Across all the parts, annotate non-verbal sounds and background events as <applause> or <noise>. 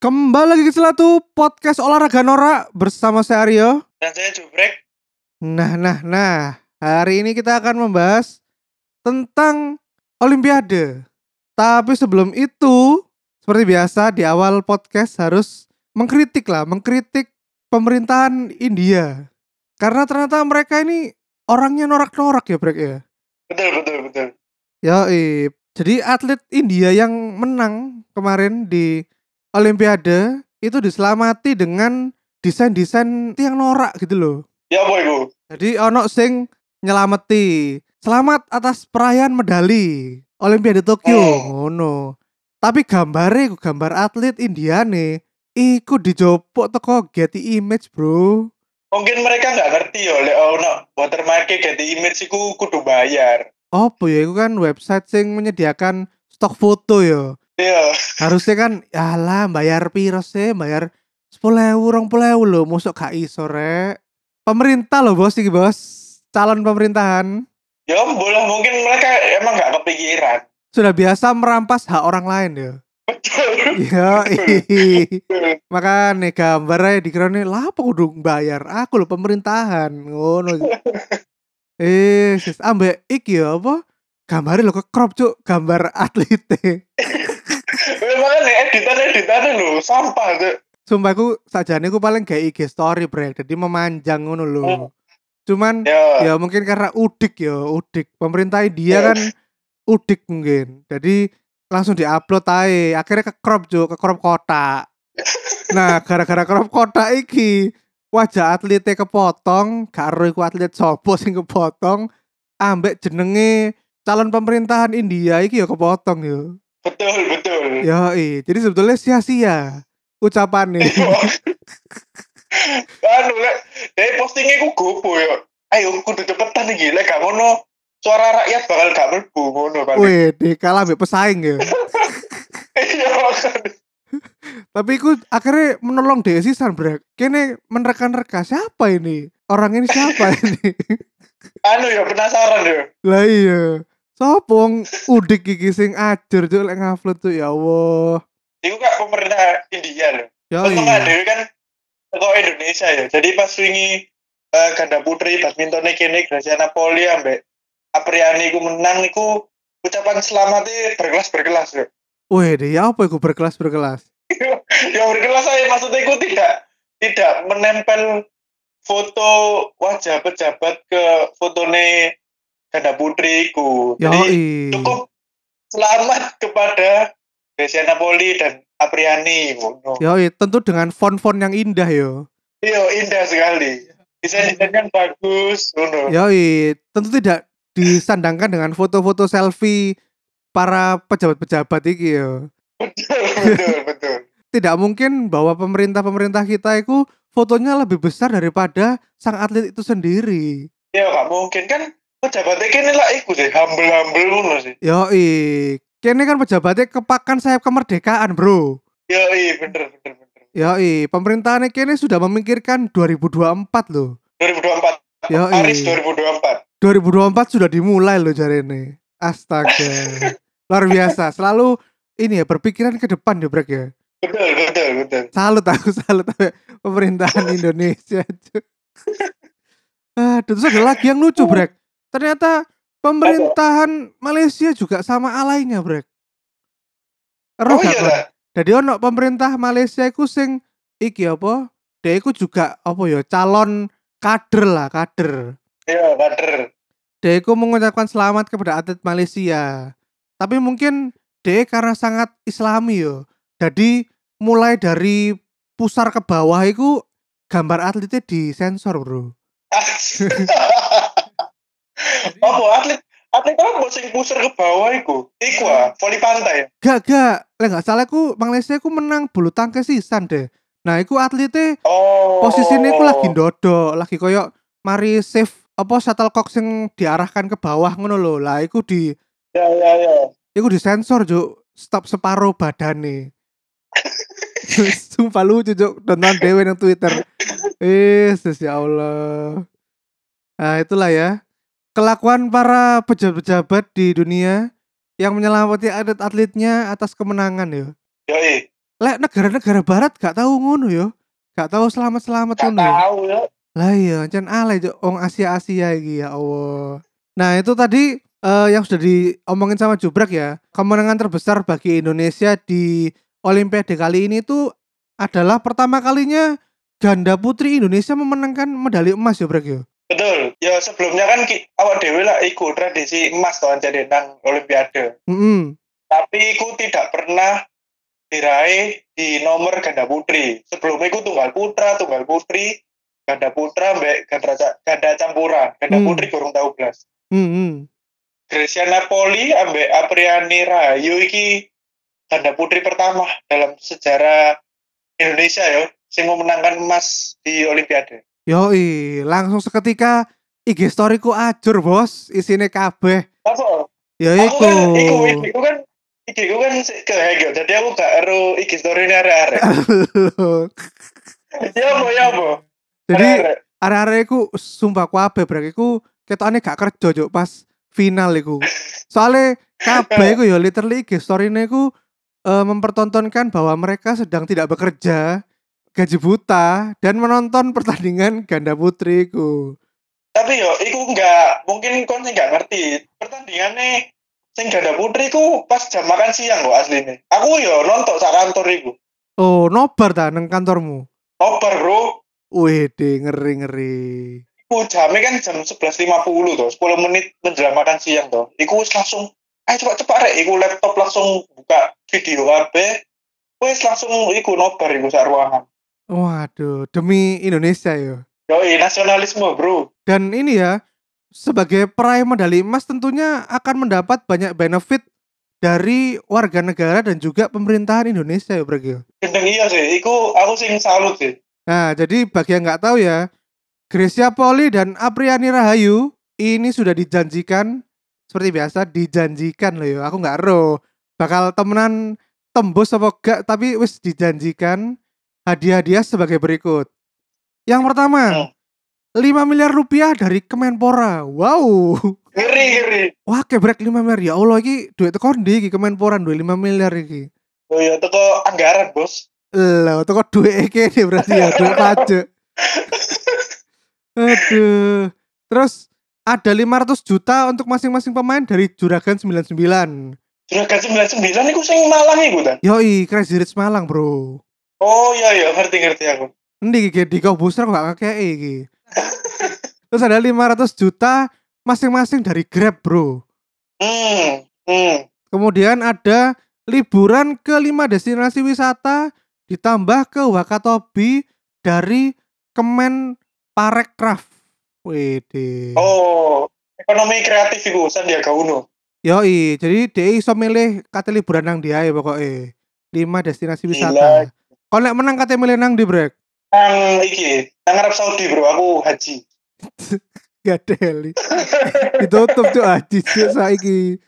Kembali lagi ke Celatu Podcast Olahraga Nora bersama saya Aryo. Dan saya Jubrek. Nah, nah, nah. Hari ini kita akan membahas tentang Olimpiade. Tapi sebelum itu, seperti biasa di awal podcast harus mengkritik lah, mengkritik pemerintahan India. Karena ternyata mereka ini orangnya norak-norak ya, Brek ya. Betul, betul, betul. Yoi. Jadi atlet India yang menang kemarin di Olimpiade itu diselamati dengan desain-desain yang norak gitu loh. Ya apa itu? Jadi ono sing nyelameti. Selamat atas perayaan medali Olimpiade Tokyo Eh. ngono. Tapi gambare iku gambar atlet India nih. Iku dijopok teko Getty Image, Bro. Mungkin mereka nggak ngerti ya, lek ono watermark ganti image iku kudu bayar. Apa ya iku kan website sing menyediakan stok foto ya. Iya, harusnya kan alah bayar piro sih bayar sepuluh ewu rong ewu lo masuk KI sore pemerintah lo bos iki bos calon pemerintahan ya boleh mungkin mereka emang nggak kepikiran. <laughs> sudah biasa merampas hak orang lain ya Betul. iya makanya gambarnya di krone lah apa kudu bayar aku lo pemerintahan ngono eh sis ambek iki ya apa gambarnya lo ke crop cuk gambar atlet e. Memang nih editan editan kan lho, sampah tuh. Sumpah ku sajane ku paling gak IG story brek, jadi memanjang ngono Hmm. lho. Cuman Ya, ya mungkin karena udik ya, udik. Pemerintah India Ya. kan udik mungkin. Jadi langsung diupload ae. Akhirnya ke crop jo, ke crop kotak. Nah, gara-gara crop kotak iki wajah atlete kepotong, gak ero iku atlet sopo sing kepotong ambek jenenge calon pemerintahan India iki ya kepotong yo. betul, betul. Ya, jadi sebetulnya sia-sia ucapannya. <laughs> Anu lek dari postingnya ku gopo ya. Ayo kudu cepetan iki lek gak ngono suara rakyat bakal gak mlebu ngono kan. Wih, di kalah ambek pesaing ya. <laughs> <laughs> Iya. Tapi aku akhirnya menolong Desi Sunbreak. Kene menerka-nerka siapa ini? Orang ini siapa <laughs> ini? Anu ya penasaran ya. lah iya. Sopong udik gigi sing ajur tuh lek ngupload tuh ya Allah. Iku kak pemerintah India loh. Ya Terus iya. dewe kan teko Indonesia ya. Jadi pas wingi eh, ganda putri badmintonnya kene Gracia Napoli ambek Apriani ku menang niku ucapan selamatnya berkelas berkelas ya. Wih, deh, ya apa iku berkelas-berkelas? <laughs> Ya berkelas saya maksudnya ku tidak tidak menempel foto wajah pejabat ke fotone ganda putri ku. Ya Jadi iya. cukup selamat kepada Gracia Napoli dan Apriani. ngono. Ya iya, tentu dengan font-font yang indah yo. Iya, indah sekali. Desain-desainnya bagus, ngono. Ya iya, tentu tidak disandangkan dengan foto-foto selfie para pejabat-pejabat iki yo. Betul, <laughs> betul, betul. tidak mungkin bahwa pemerintah-pemerintah kita itu fotonya lebih besar daripada sang atlet itu sendiri. Ya, gak mungkin kan pejabatnya kini lah iku sih, humble-humble ngono sih. Yoi, kene kan pejabatnya kepakan sayap kemerdekaan, Bro. Ya, iya, bener, bener, bener. Yoi, pemerintahannya kene sudah memikirkan 2024 loh. 2024, Yoi. Paris 2024. 2024 sudah dimulai loh jari ini. Astaga. Luar biasa, selalu ini ya berpikiran ke depan ya, Brek ya. Betul, betul, betul. Salut aku, <laughs> salut aku. <laughs> pemerintahan Indonesia. cu. Aduh, terus ada lagi yang Oh. lucu, Brek. Ternyata pemerintahan Malaysia juga sama alainya, Brek. Roh Oh iya gak, Kon? lah, Jadi ono pemerintah Malaysia iku sing iki apa? Dia iku juga apa ya calon kader lah, kader. ya <laughs> bener. Dia iku mengucapkan selamat kepada atlet Malaysia. Tapi mungkin dia karena sangat islami yo. Jadi mulai dari pusar ke bawah itu gambar atletnya disensor bro. Ah. Apa atlet? Atlet apa sing pusar ke bawah iku? Iku ah, voli pantai. Gak gak, lah gak salah aku Malaysia aku menang bulu tangkis sisan deh. Nah, aku atletnya Oh. posisinya aku lagi ndodok, lagi koyok mari save apa shuttlecock sing diarahkan ke bawah ngono lho. Lah iku di Ya, ya, ya. iku disensor juk stop separuh badane. Sumpah lucu juk nonton dewe nang Twitter. Eh, ya Allah. Nah, itulah ya. Kelakuan para Iya, pejabat-pejabat di dunia yang menyelamati atlet-atletnya atas kemenangan ya. Yoi. Lek negara-negara barat gak tahu ngono yo. Gak tahu selamat-selamat Gak ngono. yo. tahu ya. Lah iya, ancen alay cok wong Asia-Asia iki ya Allah. Nah, itu tadi eh, yang sudah diomongin sama Jubrak ya. Kemenangan terbesar bagi Indonesia di Olimpiade kali ini itu adalah pertama kalinya ganda putri Indonesia memenangkan medali emas Jubrak yo. Betul. Ya sebelumnya kan ki, awak dewe lah iku tradisi emas to jadi nang olimpiade. Mm-mm. Tapi iku tidak pernah diraih di nomor ganda putri. Sebelumnya iku tunggal putra, tunggal putri, ganda putra mbek ganda, ca- ganda campuran, ganda Hmm. putri kurang tahu belas. Mm-mm. Grecia Napoli ambek Apriani Rahayu iki ganda putri pertama dalam sejarah Indonesia yo sing memenangkan emas di olimpiade. Yoi, langsung seketika IG storyku ajur bos, isine kabeh. Apa? Ya aku kan iku iku. <laughs> iku kan iki ku kan sik ke hack yo. Jadi aku gak ero iki story ini arek-arek. Ya apa ya apa. Jadi Arek-arek. arek-arek iku sumpah kabeh brek iku ketokane gak kerja juk pas final iku. Soale kabeh iku ya literally IG story-ne iku eh, mempertontonkan bahwa mereka sedang tidak bekerja, gaji buta dan menonton pertandingan ganda putri iku. tapi yo iku enggak mungkin kon sing gak ngerti. Pertandingane sing ganda putri ku pas jam makan siang kok asline. Aku yo nonton sak kantor iku. Oh, nobar ta nang kantormu. Oper, Bro. Wih, ngeri-ngeri. Iku jamnya kan jam 11.50 toh, 10 menit menjelang makan siang toh. Iku wis langsung ayo coba cepat rek, iku laptop langsung buka video kabeh. Wes langsung iku nobar iku sak ruangan. Waduh, demi Indonesia ya? yo. Yoi, nasionalisme, Bro. Dan ini ya, sebagai peraih medali emas tentunya akan mendapat banyak benefit dari warga negara dan juga pemerintahan Indonesia ya, Brek, ya. Gendeng iya sih, iku aku sing salut sih. Nah, jadi bagi yang nggak tahu ya, Gresia Poli dan Apriani Rahayu ini sudah dijanjikan seperti biasa dijanjikan loh ya. Aku nggak ero bakal temenan tembus apa gak tapi wis dijanjikan hadiah-hadiah sebagai berikut. Yang pertama, Hmm. 5 miliar rupiah dari Kemenpora. Wow. Ngeri, ngeri. Wah kebrek 5 miliar ya Allah iki duit teko ndi iki Kemenpora duit 5 miliar iki. Oh iya, teko anggaran, Bos. Lho teko duit iki ini berarti ya duit pajak. Aduh. Terus ada 500 juta untuk masing-masing pemain dari Juragan 99. Juragan 99 iku sing Malang iku ta. Yoi, Crazy Rich Malang, Bro. Oh iya iya, ngerti ngerti aku. Endi iki di kau booster kok gak ngekei iki. Terus ada 500 juta masing-masing dari Grab, Bro. Hmm. Hmm. Kemudian ada liburan ke lima destinasi wisata ditambah ke Wakatobi dari Kemen Parekraf. Wede. Oh, ekonomi kreatif iku Sandiaga Uno. Yoi, jadi DI iso milih kate liburan nang dia ya pokoknya. Lima destinasi Gila. wisata. Kalau nek menang kate milih nang di brek. Nang iki, nang Arab Saudi, Bro, aku haji. Gak <laughs> deli. Ditutup cuk haji cuk saiki.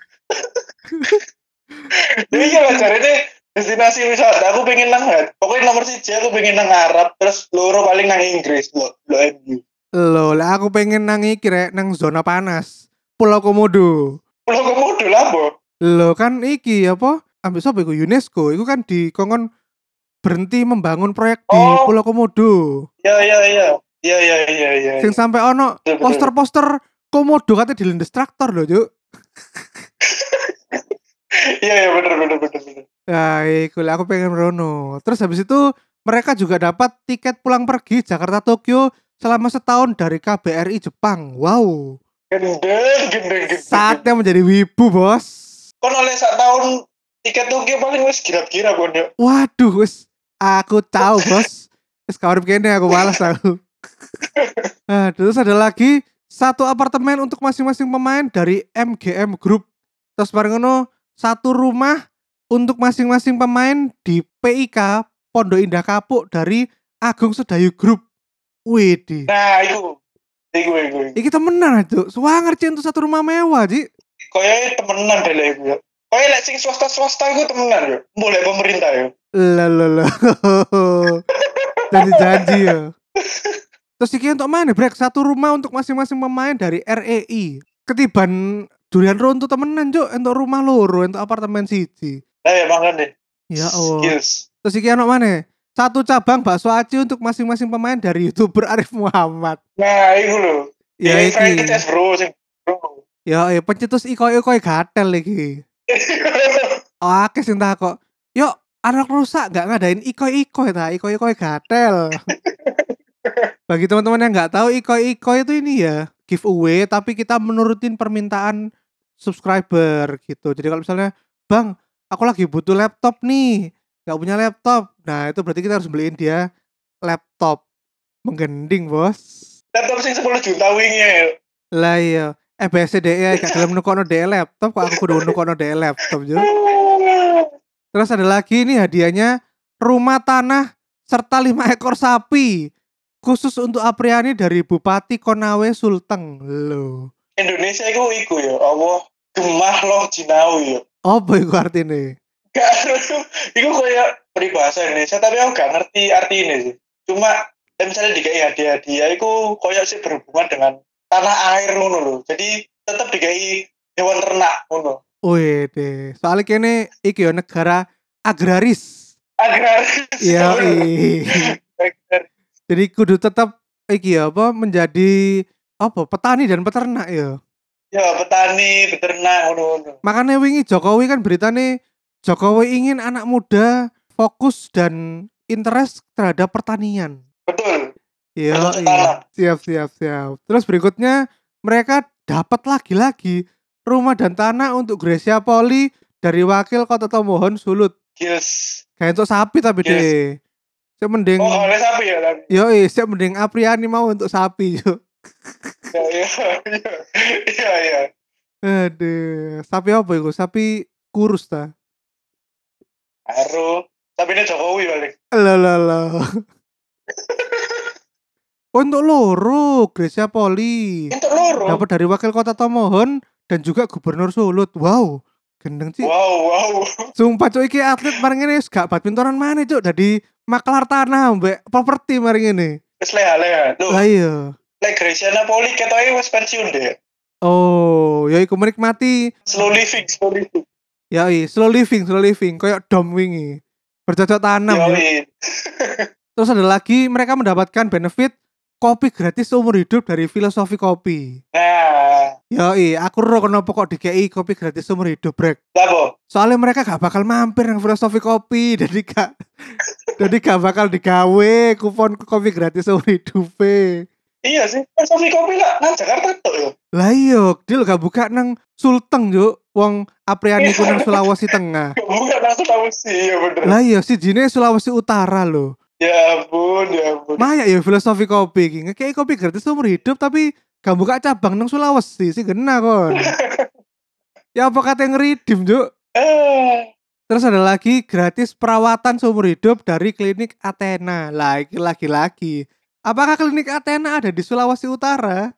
Ya iya lah jarene destinasi wisata aku pengen nang pokoknya nomor siji aku pengen nang Arab terus loro paling nang Inggris lo lo MU Loh, lah aku pengen nang iki rek nang zona panas. Pulau Komodo. lo komodo lah bo Loh kan iki apa? Ambil sapa iku UNESCO, iku kan di kongkon berhenti membangun proyek di Oh. Pulau Komodo. ya ya ya ya ya ya ya Sing sampai ono Betul, betul. poster-poster Komodo katanya dilindes traktor loh, Cuk. Iya iya bener bener bener bener. Nah, iku lah aku pengen merono. Terus habis itu mereka juga dapat tiket pulang pergi Jakarta Tokyo selama setahun dari KBRI Jepang. Wow. Gendeng gendeng gendeng. Saatnya menjadi wibu, Bos. Kon oleh sak tahun tiket Tokyo paling wis kira-kira ya. kon yo. Waduh, wis aku tahu, Bos. Wis kawarip kene aku malas aku. Nah, terus ada lagi satu apartemen untuk masing-masing pemain dari MGM Group. Terus bareng ngono satu rumah untuk masing-masing pemain di PIK Pondok Indah Kapuk dari Agung Sedayu Group. Widih. Nah, iku. Iku iku. iku. Iki temenan itu, suwanger Ci, untuk satu rumah mewah, Ji. Koyoke temenan deh lek iku yo. Koyoke lek sing swasta-swasta iku temenan yo. Mulai pemerintah ya. yo. Lah, lah, lah. Janji-janji ya. Terus iki untuk mana, Brek? Satu rumah untuk masing-masing pemain dari REI. Ketiban durian runtuh temenan, Cuk, untuk rumah loro, untuk apartemen siji. Lah ya makan deh. Ya Allah. Skills. Terus iki ono maneh. Satu cabang bakso aci untuk masing-masing pemain dari YouTuber Arif Muhammad. Nah, iku lho. Ya Ini Frank iki. Kites, Bro, sing bro. <laughs> Ya ya pencetus iko-iko gatel iki. Oh, akeh sing takok. Yuk, anak rusak nggak ngadain iko-iko ta, iko-iko gatel. Bagi teman-teman yang nggak tahu iko-iko itu ini ya giveaway tapi kita menurutin permintaan subscriber gitu. Jadi kalau misalnya, "Bang, aku lagi butuh laptop nih." nggak punya laptop. Nah, itu berarti kita harus beliin dia laptop. Menggending, Bos. Laptop sing 10 juta wingi. ya. Lah iya, eh biasa deh ya, gak gelem nukono deh laptop, kok aku kudu nukono deh laptop juga. Terus ada lagi ini hadiahnya rumah tanah serta lima ekor sapi khusus untuk Apriani dari Bupati Konawe Sulteng lo. Indonesia iku iku ya, apa gemah loh jinawi ya. Apa iku artine? Gak <laughs> aruh. iku koyo peribahasa Indonesia tapi aku gak ngerti arti ini sih. Cuma eh, misalnya dikai hadiah-hadiah iku koyo sih berhubungan dengan tanah air ngono lho. Jadi tetap dikai hewan ternak ngono. Wih deh, soalnya kene iki yo negara agraris. Agar <laughs> Iya, Iya. ih. Jadi kudu tetap iki ya apa menjadi apa petani dan peternak ya. ya petani, peternak ngono-ngono. Makanya wingi Jokowi kan beritane Jokowi ingin anak muda fokus dan interest terhadap pertanian. Betul. Iya, Terus iya. tanam. siap siap siap. Terus berikutnya mereka dapat lagi-lagi rumah dan tanah untuk Gracia Poli dari wakil Kota Tomohon Sulut. Yes. Kayak untuk sapi tapi Yes. deh. Saya mending Oh, oleh sapi ya tapi. yo saya mending Apriani mau untuk sapi <laughs> yo. Ya <laughs> ya. Ya ya. Aduh, sapi apa itu? Sapi kurus ta. Aru. Tapi ini Jokowi <laughs> balik. Lah lah lah. Oh, Untuk loro Gracia Poli. Itu loro. Dapat dari wakil kota Tomohon dan juga gubernur Sulut. Wow, gendeng sih. Wow, wow. Sumpah cuk iki atlet maring ini gak badmintonan mana cuk dari maklar tanah mbek properti maring ini. Wis leha leha. Loh, Lah iya. lek Gracia Napoli ketoke wis pensiun deh. Oh, ya iku menikmati Slow Hmm. living, slow living. ya i, slow living, slow living koyok dom wingi. Bercocok tanam. Yo, ya. Terus ada lagi mereka mendapatkan benefit kopi gratis seumur hidup dari filosofi kopi. <laughs> Nah, Yoi, aku roh kenapa kok dikei kopi gratis seumur hidup, Brek. lapo. soalnya mereka gak bakal mampir yang filosofi kopi <laughs> jadi gak jadi gak bakal digawe kupon kopi gratis seumur hidup e. Iya sih, filosofi kopi lah. Nah, Jakarta tuh yo. <laughs> lah iya dia gak buka nang Sulteng yuk wong Apriani ku nang Sulawesi Tengah Bukan langsung tahu sih, ya bener. lah iya si Jine Sulawesi Utara loh Ya ampun, ya ampun. Maya ya filosofi kopi iki ngekei kopi gratis seumur hidup tapi gak buka cabang nang Sulawesi sih gena kon ya apa kata ngeridim yuk Eh, Terus ada lagi gratis perawatan seumur hidup dari klinik Athena. Lagi lagi lagi. Apakah klinik Athena ada di Sulawesi <laughs> Utara?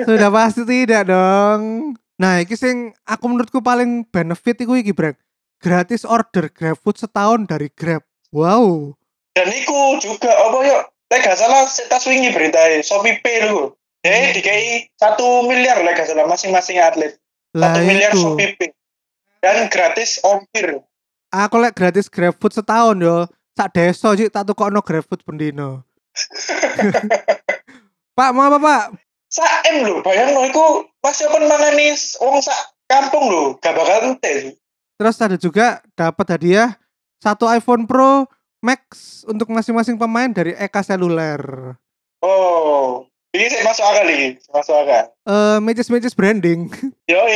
Sudah pasti tidak dong. Nah, iki sing aku menurutku paling benefit iku iki, Brek. Gratis order GrabFood setahun dari Grab. Wow. dan iku juga apa yo? Lek gak salah setas wingi beritae Shopee Pay lho. Eh, Hmm. dikai satu miliar lek gak salah masing-masing atlet. Lah Satu miliar itu. Shopee Pay. Dan gratis ongkir. Aku lek gratis GrabFood setahun yo. Sak desa sih tak tukokno GrabFood pendino. <laughs> Pak, mau apa, Pak? Sak M lho, bayang lho iku pas open mangani wong sak kampung lho, gak bakal ente. Terus ada juga dapat hadiah satu iPhone Pro Max untuk masing-masing pemain dari Eka Seluler. Oh, ini saya masuk akal ini, masuk akal. Eh, matches branding. Yo, <laughs>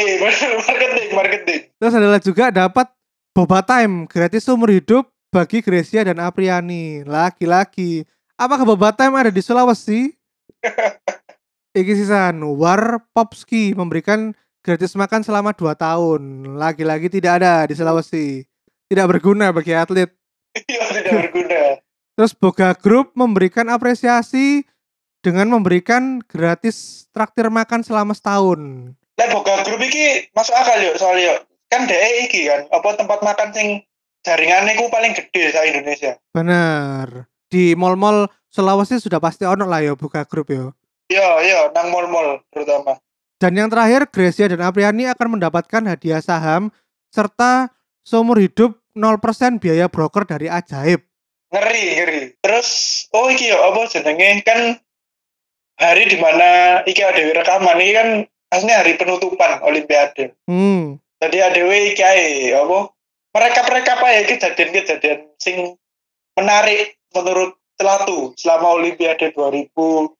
marketing, marketing. <laughs> Terus adalah juga dapat boba time gratis seumur hidup bagi Gracia dan Apriani. Laki-laki. Apakah boba time ada di Sulawesi? Iki sisan War Popski memberikan gratis makan selama 2 tahun. Lagi-lagi tidak ada di Sulawesi. Tidak berguna bagi atlet. Yo, tidak berguna. Terus Boga Group memberikan apresiasi dengan memberikan gratis traktir makan selama setahun. Lah boga grup iki masuk akal yo, soalnya yo. Kan DE iki kan, apa tempat makan sing jaringannya ku paling gede sa Indonesia. Bener. Di mall-mall Sulawesi sudah pasti ono lah ya Boga Group ya. Yo, yo, nang mall-mall terutama. Dan yang terakhir, Gracia dan Apriani akan mendapatkan hadiah saham serta seumur hidup 0% biaya broker dari ajaib. ngeri ngeri terus oh iki ya apa jenenge kan hari dimana iki ada rekaman ini kan aslinya hari penutupan olimpiade Hmm. tadi ada iki ae apa mereka mereka apa ya kejadian kejadian sing menarik menurut celatu selama olimpiade 2020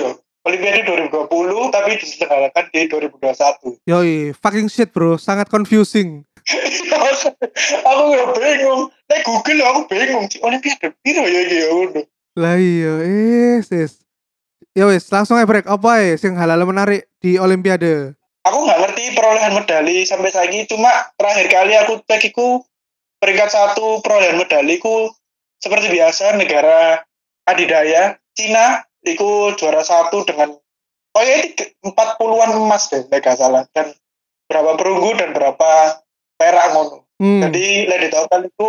ya olimpiade 2020 tapi diselenggarakan di 2021 Yoi, fucking shit bro, sangat confusing. <laughs> aku ya bingung nek google aku bingung olimpiade piro ya iki ya ngono. Lah iya, is, is. Ya wis, langsung ae break apa ae sing halal menarik di olimpiade. aku nggak ngerti perolehan medali sampai saat ini cuma terakhir kali aku cek iku peringkat satu perolehan medali ku seperti biasa negara adidaya Cina iku juara satu dengan oh ya empat puluhan emas deh nggak salah dan berapa perunggu dan berapa perak ngono Hmm. jadi lady total itu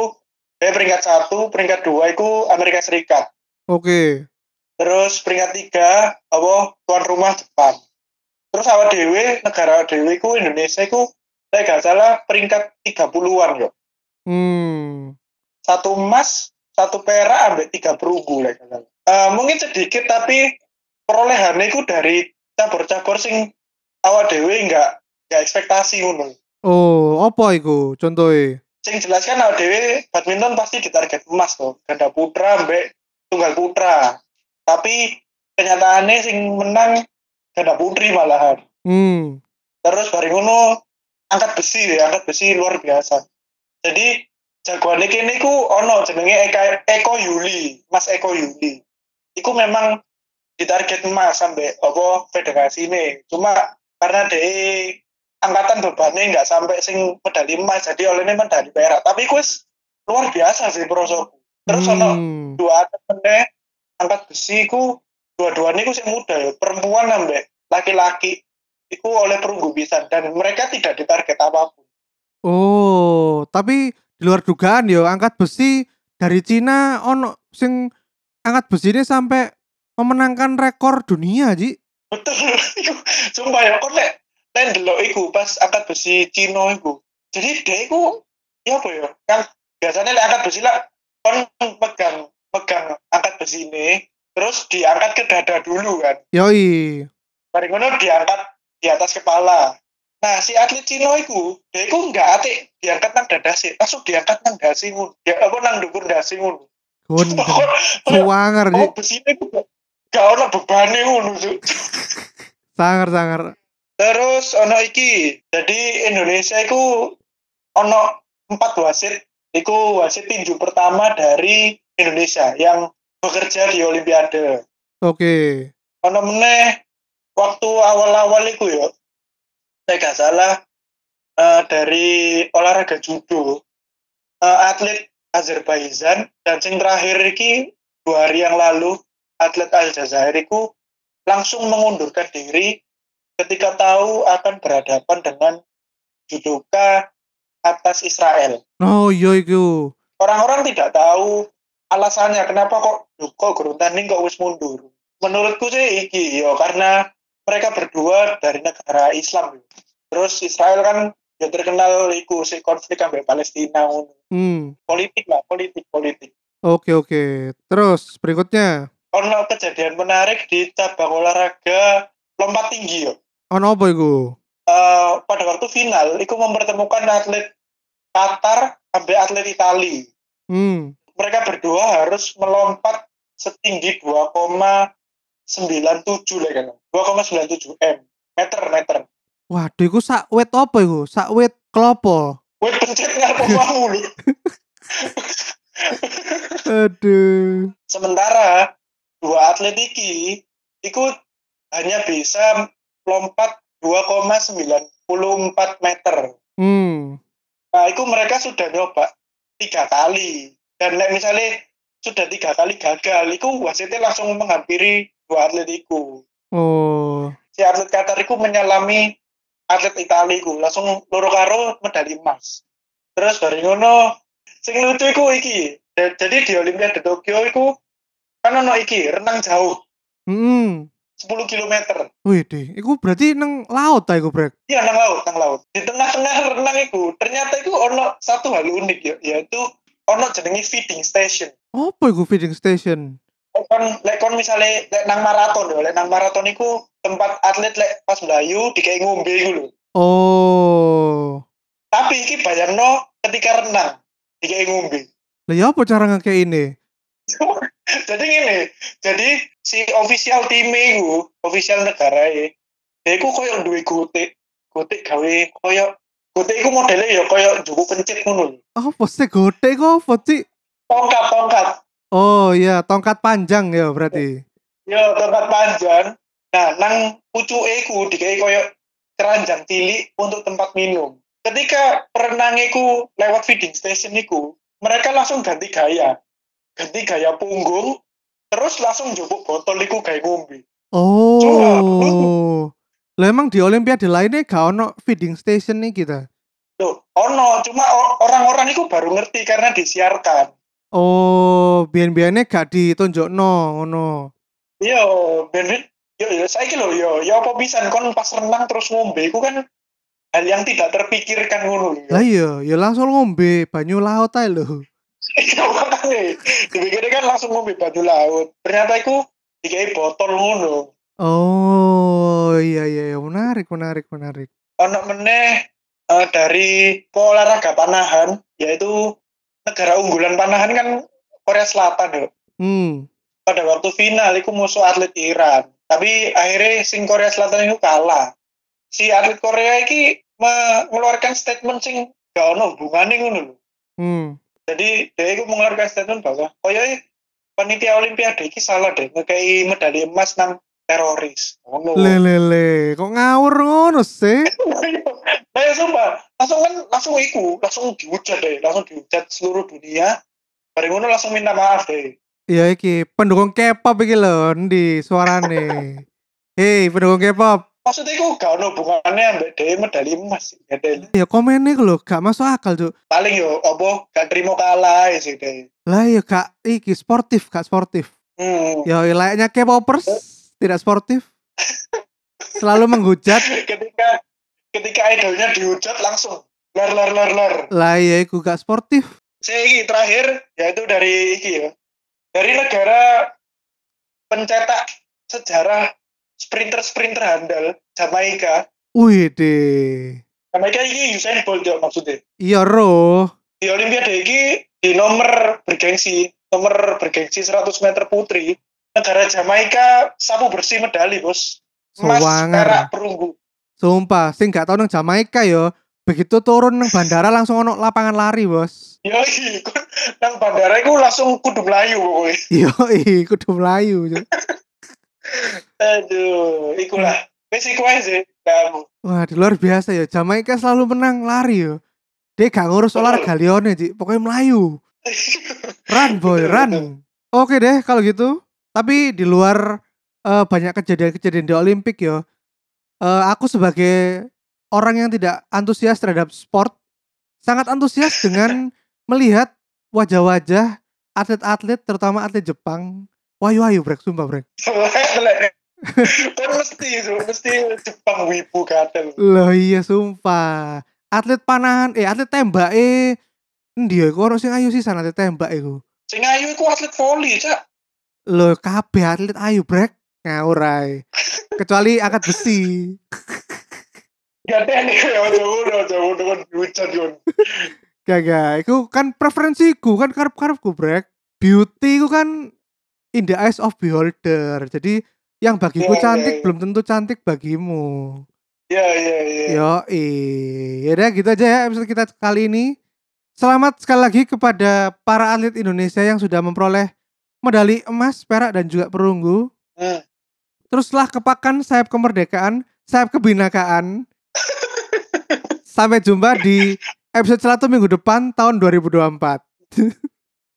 eh, peringkat satu peringkat dua itu Amerika Serikat Oke. terus peringkat tiga apa tuan rumah Jepang terus awal dewe negara dewe ku Indonesia ku saya gak salah peringkat 30-an yo Hmm. satu emas satu perak ambek tiga perunggu lah gak salah. Eh, mungkin sedikit tapi perolehannya ku dari cabur-cabur sing awal dewe nggak nggak ekspektasi ngono Oh, apa iku contohe? sing jelas kan awal dewe badminton pasti ditarget emas tuh ganda putra ambek tunggal putra tapi kenyataannya sing menang ganda putri malahan Hmm. Terus bareng ngono angkat besi ya, angkat besi luar biasa. Jadi jagoan iki niku ono jenenge Eka, Eko Yuli, Mas Eko Yuli. Iku memang ditarget emas sampai apa federasi ini. Cuma karena de angkatan bebannya nggak sampai sing medali emas, jadi olehnya medali perak. Tapi iku wis luar biasa sih prosoku. Terus ono Hmm. dua temennya angkat besi ku dua-duanya ku sing muda ya perempuan ambek laki-laki itu oleh perunggu pisan dan mereka tidak ditarget apapun Oh, tapi di luar dugaan yo angkat besi dari Cina ono sing angkat besi ini sampai memenangkan rekor dunia, Ji. betul <laughs> iku sumpah ya kok nek nek ndelok iku pas angkat besi Cino iku jadi dia iku ya apa ya kan biasanya lek angkat besi lah kon pegang pegang angkat besi ini terus diangkat ke dada dulu kan Yoi. Bareng ngono diangkat di atas kepala. Nah, si atlet Cino iku, dia iku enggak atik diangkat nang dada sih. Langsung diangkat nang dasi ngono. Ya apa nang dhuwur dasi ngono. <laughs> Gondel. Oh, Suwanger, Ji. besine iku gak- gak ono bebane ngono. Cuk. Sangar, sangar. Terus ono iki. Jadi Indonesia iku ono empat wasit. Iku wasit tinju pertama dari Indonesia yang bekerja di Olimpiade. Oke. ono meneh waktu awal-awal itu ya saya gak salah eh, dari olahraga judo eh, atlet Azerbaijan dan sing terakhir iki dua hari yang lalu atlet Aljazair iku langsung mengundurkan diri ketika tahu akan berhadapan dengan judoka atas Israel. No, yo iku. Orang-orang tidak tahu alasannya kenapa kok "Duh, kok gurun tanding kok wis mundur. Menurutku sih iki yo karena mereka berdua dari negara Islam. Terus Israel kan ya terkenal iku si konflik ambek Palestina ngono. Hmm. politik lah politik politik. Oke, oke. Terus berikutnya, Ono kejadian menarik di cabang olahraga lompat tinggi yo. ono apa iku? Eh, pada waktu final iku mempertemukan atlet Qatar ambek atlet Italia. Hmm. mereka berdua harus melompat setinggi 2,97 lah kan. 2,97 m meter meter. Waduh, iku sak wit apa iku? Sak wit klopo. Wih pencet ngarep omahmu lu. Aduh. Sementara dua atlet iki ikut hanya bisa lompat 2,94 meter. Hmm. Nah, itu mereka sudah nyoba tiga kali. Dan nek misalnya sudah tiga kali gagal, itu wasitnya langsung menghampiri dua atlet iku. Oh. si atlet Qatar iku menyelami atlet Italia iku langsung loro karo medali emas. Terus bareng ngono sing lucu iku iki. Da- Jadi di Olimpiade Tokyo iku kan ono iki renang jauh. Hmm. 10 kilometer. Wih deh, iku berarti neng laut ta iku brek. Iya nang laut, nang laut. Di tengah-tengah renang itu ternyata itu ono satu hal unik ya, yaitu ono jenenge feeding station. Apa iku feeding station? Lek kon lek kon misale lek nang maraton ya, lek nang maraton iku tempat atlet lek pas mlayu dikei ngombe iku lho. Oh. Tapi iki bayangno ketika renang dikei ngombe. <laughs> Lah ya apa cara ngake ini? jadi gini, jadi si official tim iku, official negara ya, dia iku koyo duwe gotik, gotik gawe koyo gotik iku modelnya ya koyo juku pencet ngono. lho. Apa sih gode kok apa sih? Tongkat tongkat, Oh iya, tongkat panjang ya berarti. ya tongkat panjang. Nah, nang pucuke iku dikai koyo keranjang cilik untuk tempat minum. Ketika perenang iku lewat feeding station iku, mereka langsung ganti gaya. Ganti gaya punggung, terus langsung jupuk botol iku gawe ngombe. Oh. Lah emang di olimpiade lainnya gak ono feeding station nih kita. Loh, ono, cuma o- orang-orang itu baru ngerti karena disiarkan. Oh, biyen-biyene gak ditunjukno ngono. Iya, ben yo yo saiki lho yo yo apa pisan kon pas renang terus ngombe iku kan hal yang tidak terpikirkan ngono Lah lho. iya, ya langsung ngombe banyu laut ae lho. Iya makane dipikirnya kan langsung ngombe baju laut. Ternyata iku dikai botol ngono. Oh, iya iya iya. menarik menarik menarik. Ono meneh eh, dari olahraga panahan yaitu negara unggulan panahan kan Korea Selatan lho. Hmm. pada waktu final itu musuh atlet Iran tapi akhirnya sing Korea Selatan itu kalah si atlet Korea ini mengeluarkan statement sing gak ono hubungannya ngono lho. Hmm. jadi dia itu mengeluarkan statement bahwa koyoke panitia olimpiade iki salah deh ngekei medali emas nang teroris Oh, ngono Lelele, kok ngawur ngono sih? <laughs> nah ya sumpah langsung kan langsung iku langsung dihujat deh langsung dihujat seluruh dunia bareng ngono langsung minta maaf deh Ya iki pendukung K-pop iki lho ndi suarane. Hei, pendukung K-pop. maksudnya itu gak ono hubungannya ambek dhewe medali emas ya deh Ya komennya iku lho gak masuk akal, Cuk. paling yo opo gak terima kalah ya sih deh Lah ya gak iki sportif, gak sportif. hmm. Ya layaknya K-popers tidak sportif. Selalu menghujat. ketika ketika idolnya dihujat langsung lar lar lar lar Lah ya iku gak sportif. saya ini terakhir yaitu dari iki ya dari negara pencetak sejarah sprinter sprinter handal Jamaika Wih deh. Jamaika ini Usain Bolt ya maksudnya Iya roh. di Olimpiade ini di nomor bergengsi nomor bergengsi 100 meter putri negara Jamaika sapu bersih medali bos emas perak Sowanger. perunggu Sumpah, sing gak tau nang Jamaika yo. Begitu turun nang bandara langsung ono lapangan lari, Bos. <laughs> Ya iki kon nang bandara iku langsung kudu mlayu pokoke. Yo, kudu melayu. Cuk. Aduh, iku lah. Wis iku ae sih. Kamu. <laughs> Wah, di luar biasa ya. Jamaika selalu menang lari yo. Dia gak ngurus Betul. olahraga lione, Ji. Pokoknya melayu. Run, <laughs> boy, Betul, run. betul. Oke deh kalau gitu. Tapi di luar eh, banyak kejadian-kejadian di Olimpik yo. eh, aku sebagai orang yang tidak antusias terhadap sport, sangat <laughs> antusias dengan melihat wajah-wajah atlet-atlet, terutama atlet Jepang. Wahyu-wahyu, brek, sumpah, brek. Lek. Kon mesti Su, mesti Jepang wibu gatel. Loh iya sumpah. Atlet panahan, eh atlet tembak eh Ndi iku ono sing ayu sisan atlet tembak iku. Sing ayu iku atlet voli, Cak. Loh kabeh atlet ayu brek ngawur ae. Kecuali angkat besi. Gatel ya ojo ngono, ojo ngono kon hujan ya. kon. Gaga, iku kan preferensiku kan karep-karepku brek. Beauty iku kan in the eyes of beholder. Jadi yang bagiku Iya, iya, cantik iya. belum tentu cantik bagimu. Ya ya ya. Yo, yaudah gitu aja ya episode kita kali ini. Selamat sekali lagi kepada para atlet Indonesia yang sudah memperoleh medali emas, perak dan juga perunggu. Hmm. <laughs> Teruslah kepakan sayap kemerdekaan, sayap kebinakaan. Sampai jumpa di episode 1 minggu depan tahun 2024.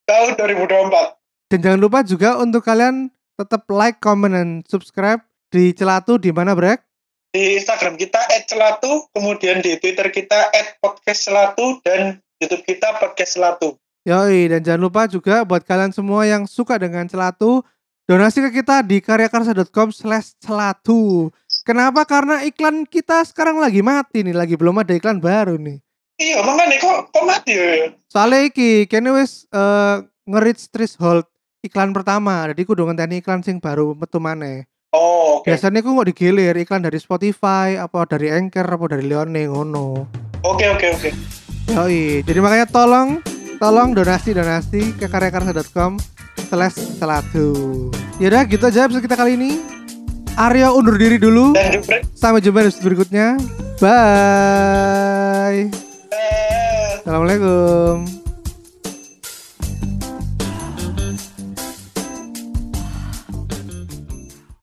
Tahun 2024. Dan jangan lupa juga untuk kalian tetap like, comment, dan subscribe di Celatu di mana Brek? Di Instagram kita @celatu, kemudian di Twitter kita @podcastcelatu dan YouTube kita podcast celatu. Yoi, dan jangan lupa juga buat kalian semua yang suka dengan celatu, Donasi ke kita di karyakarsa.com slash celatu. Kenapa? Karena iklan kita sekarang lagi mati nih, lagi belum ada iklan baru nih. Iya, makanya kok kok mati ya. Soalnya iki, kene wis eh, nge-reach threshold iklan pertama. Jadi kudu ngenteni iklan sing baru metu maneh. Oh, oke. Biasanya ku nggak digilir iklan dari Spotify, apa dari Anchor, apa dari Leone ngono. Oke, oke, oke. Yoi, jadi makanya tolong tolong donasi-donasi ke karyakarsa.com slash selatu. Yaudah gitu aja episode kita kali ini. Aryo undur diri dulu. Dan jebret. Sampai jumpa di episode berikutnya. Bye. eh, Assalamualaikum.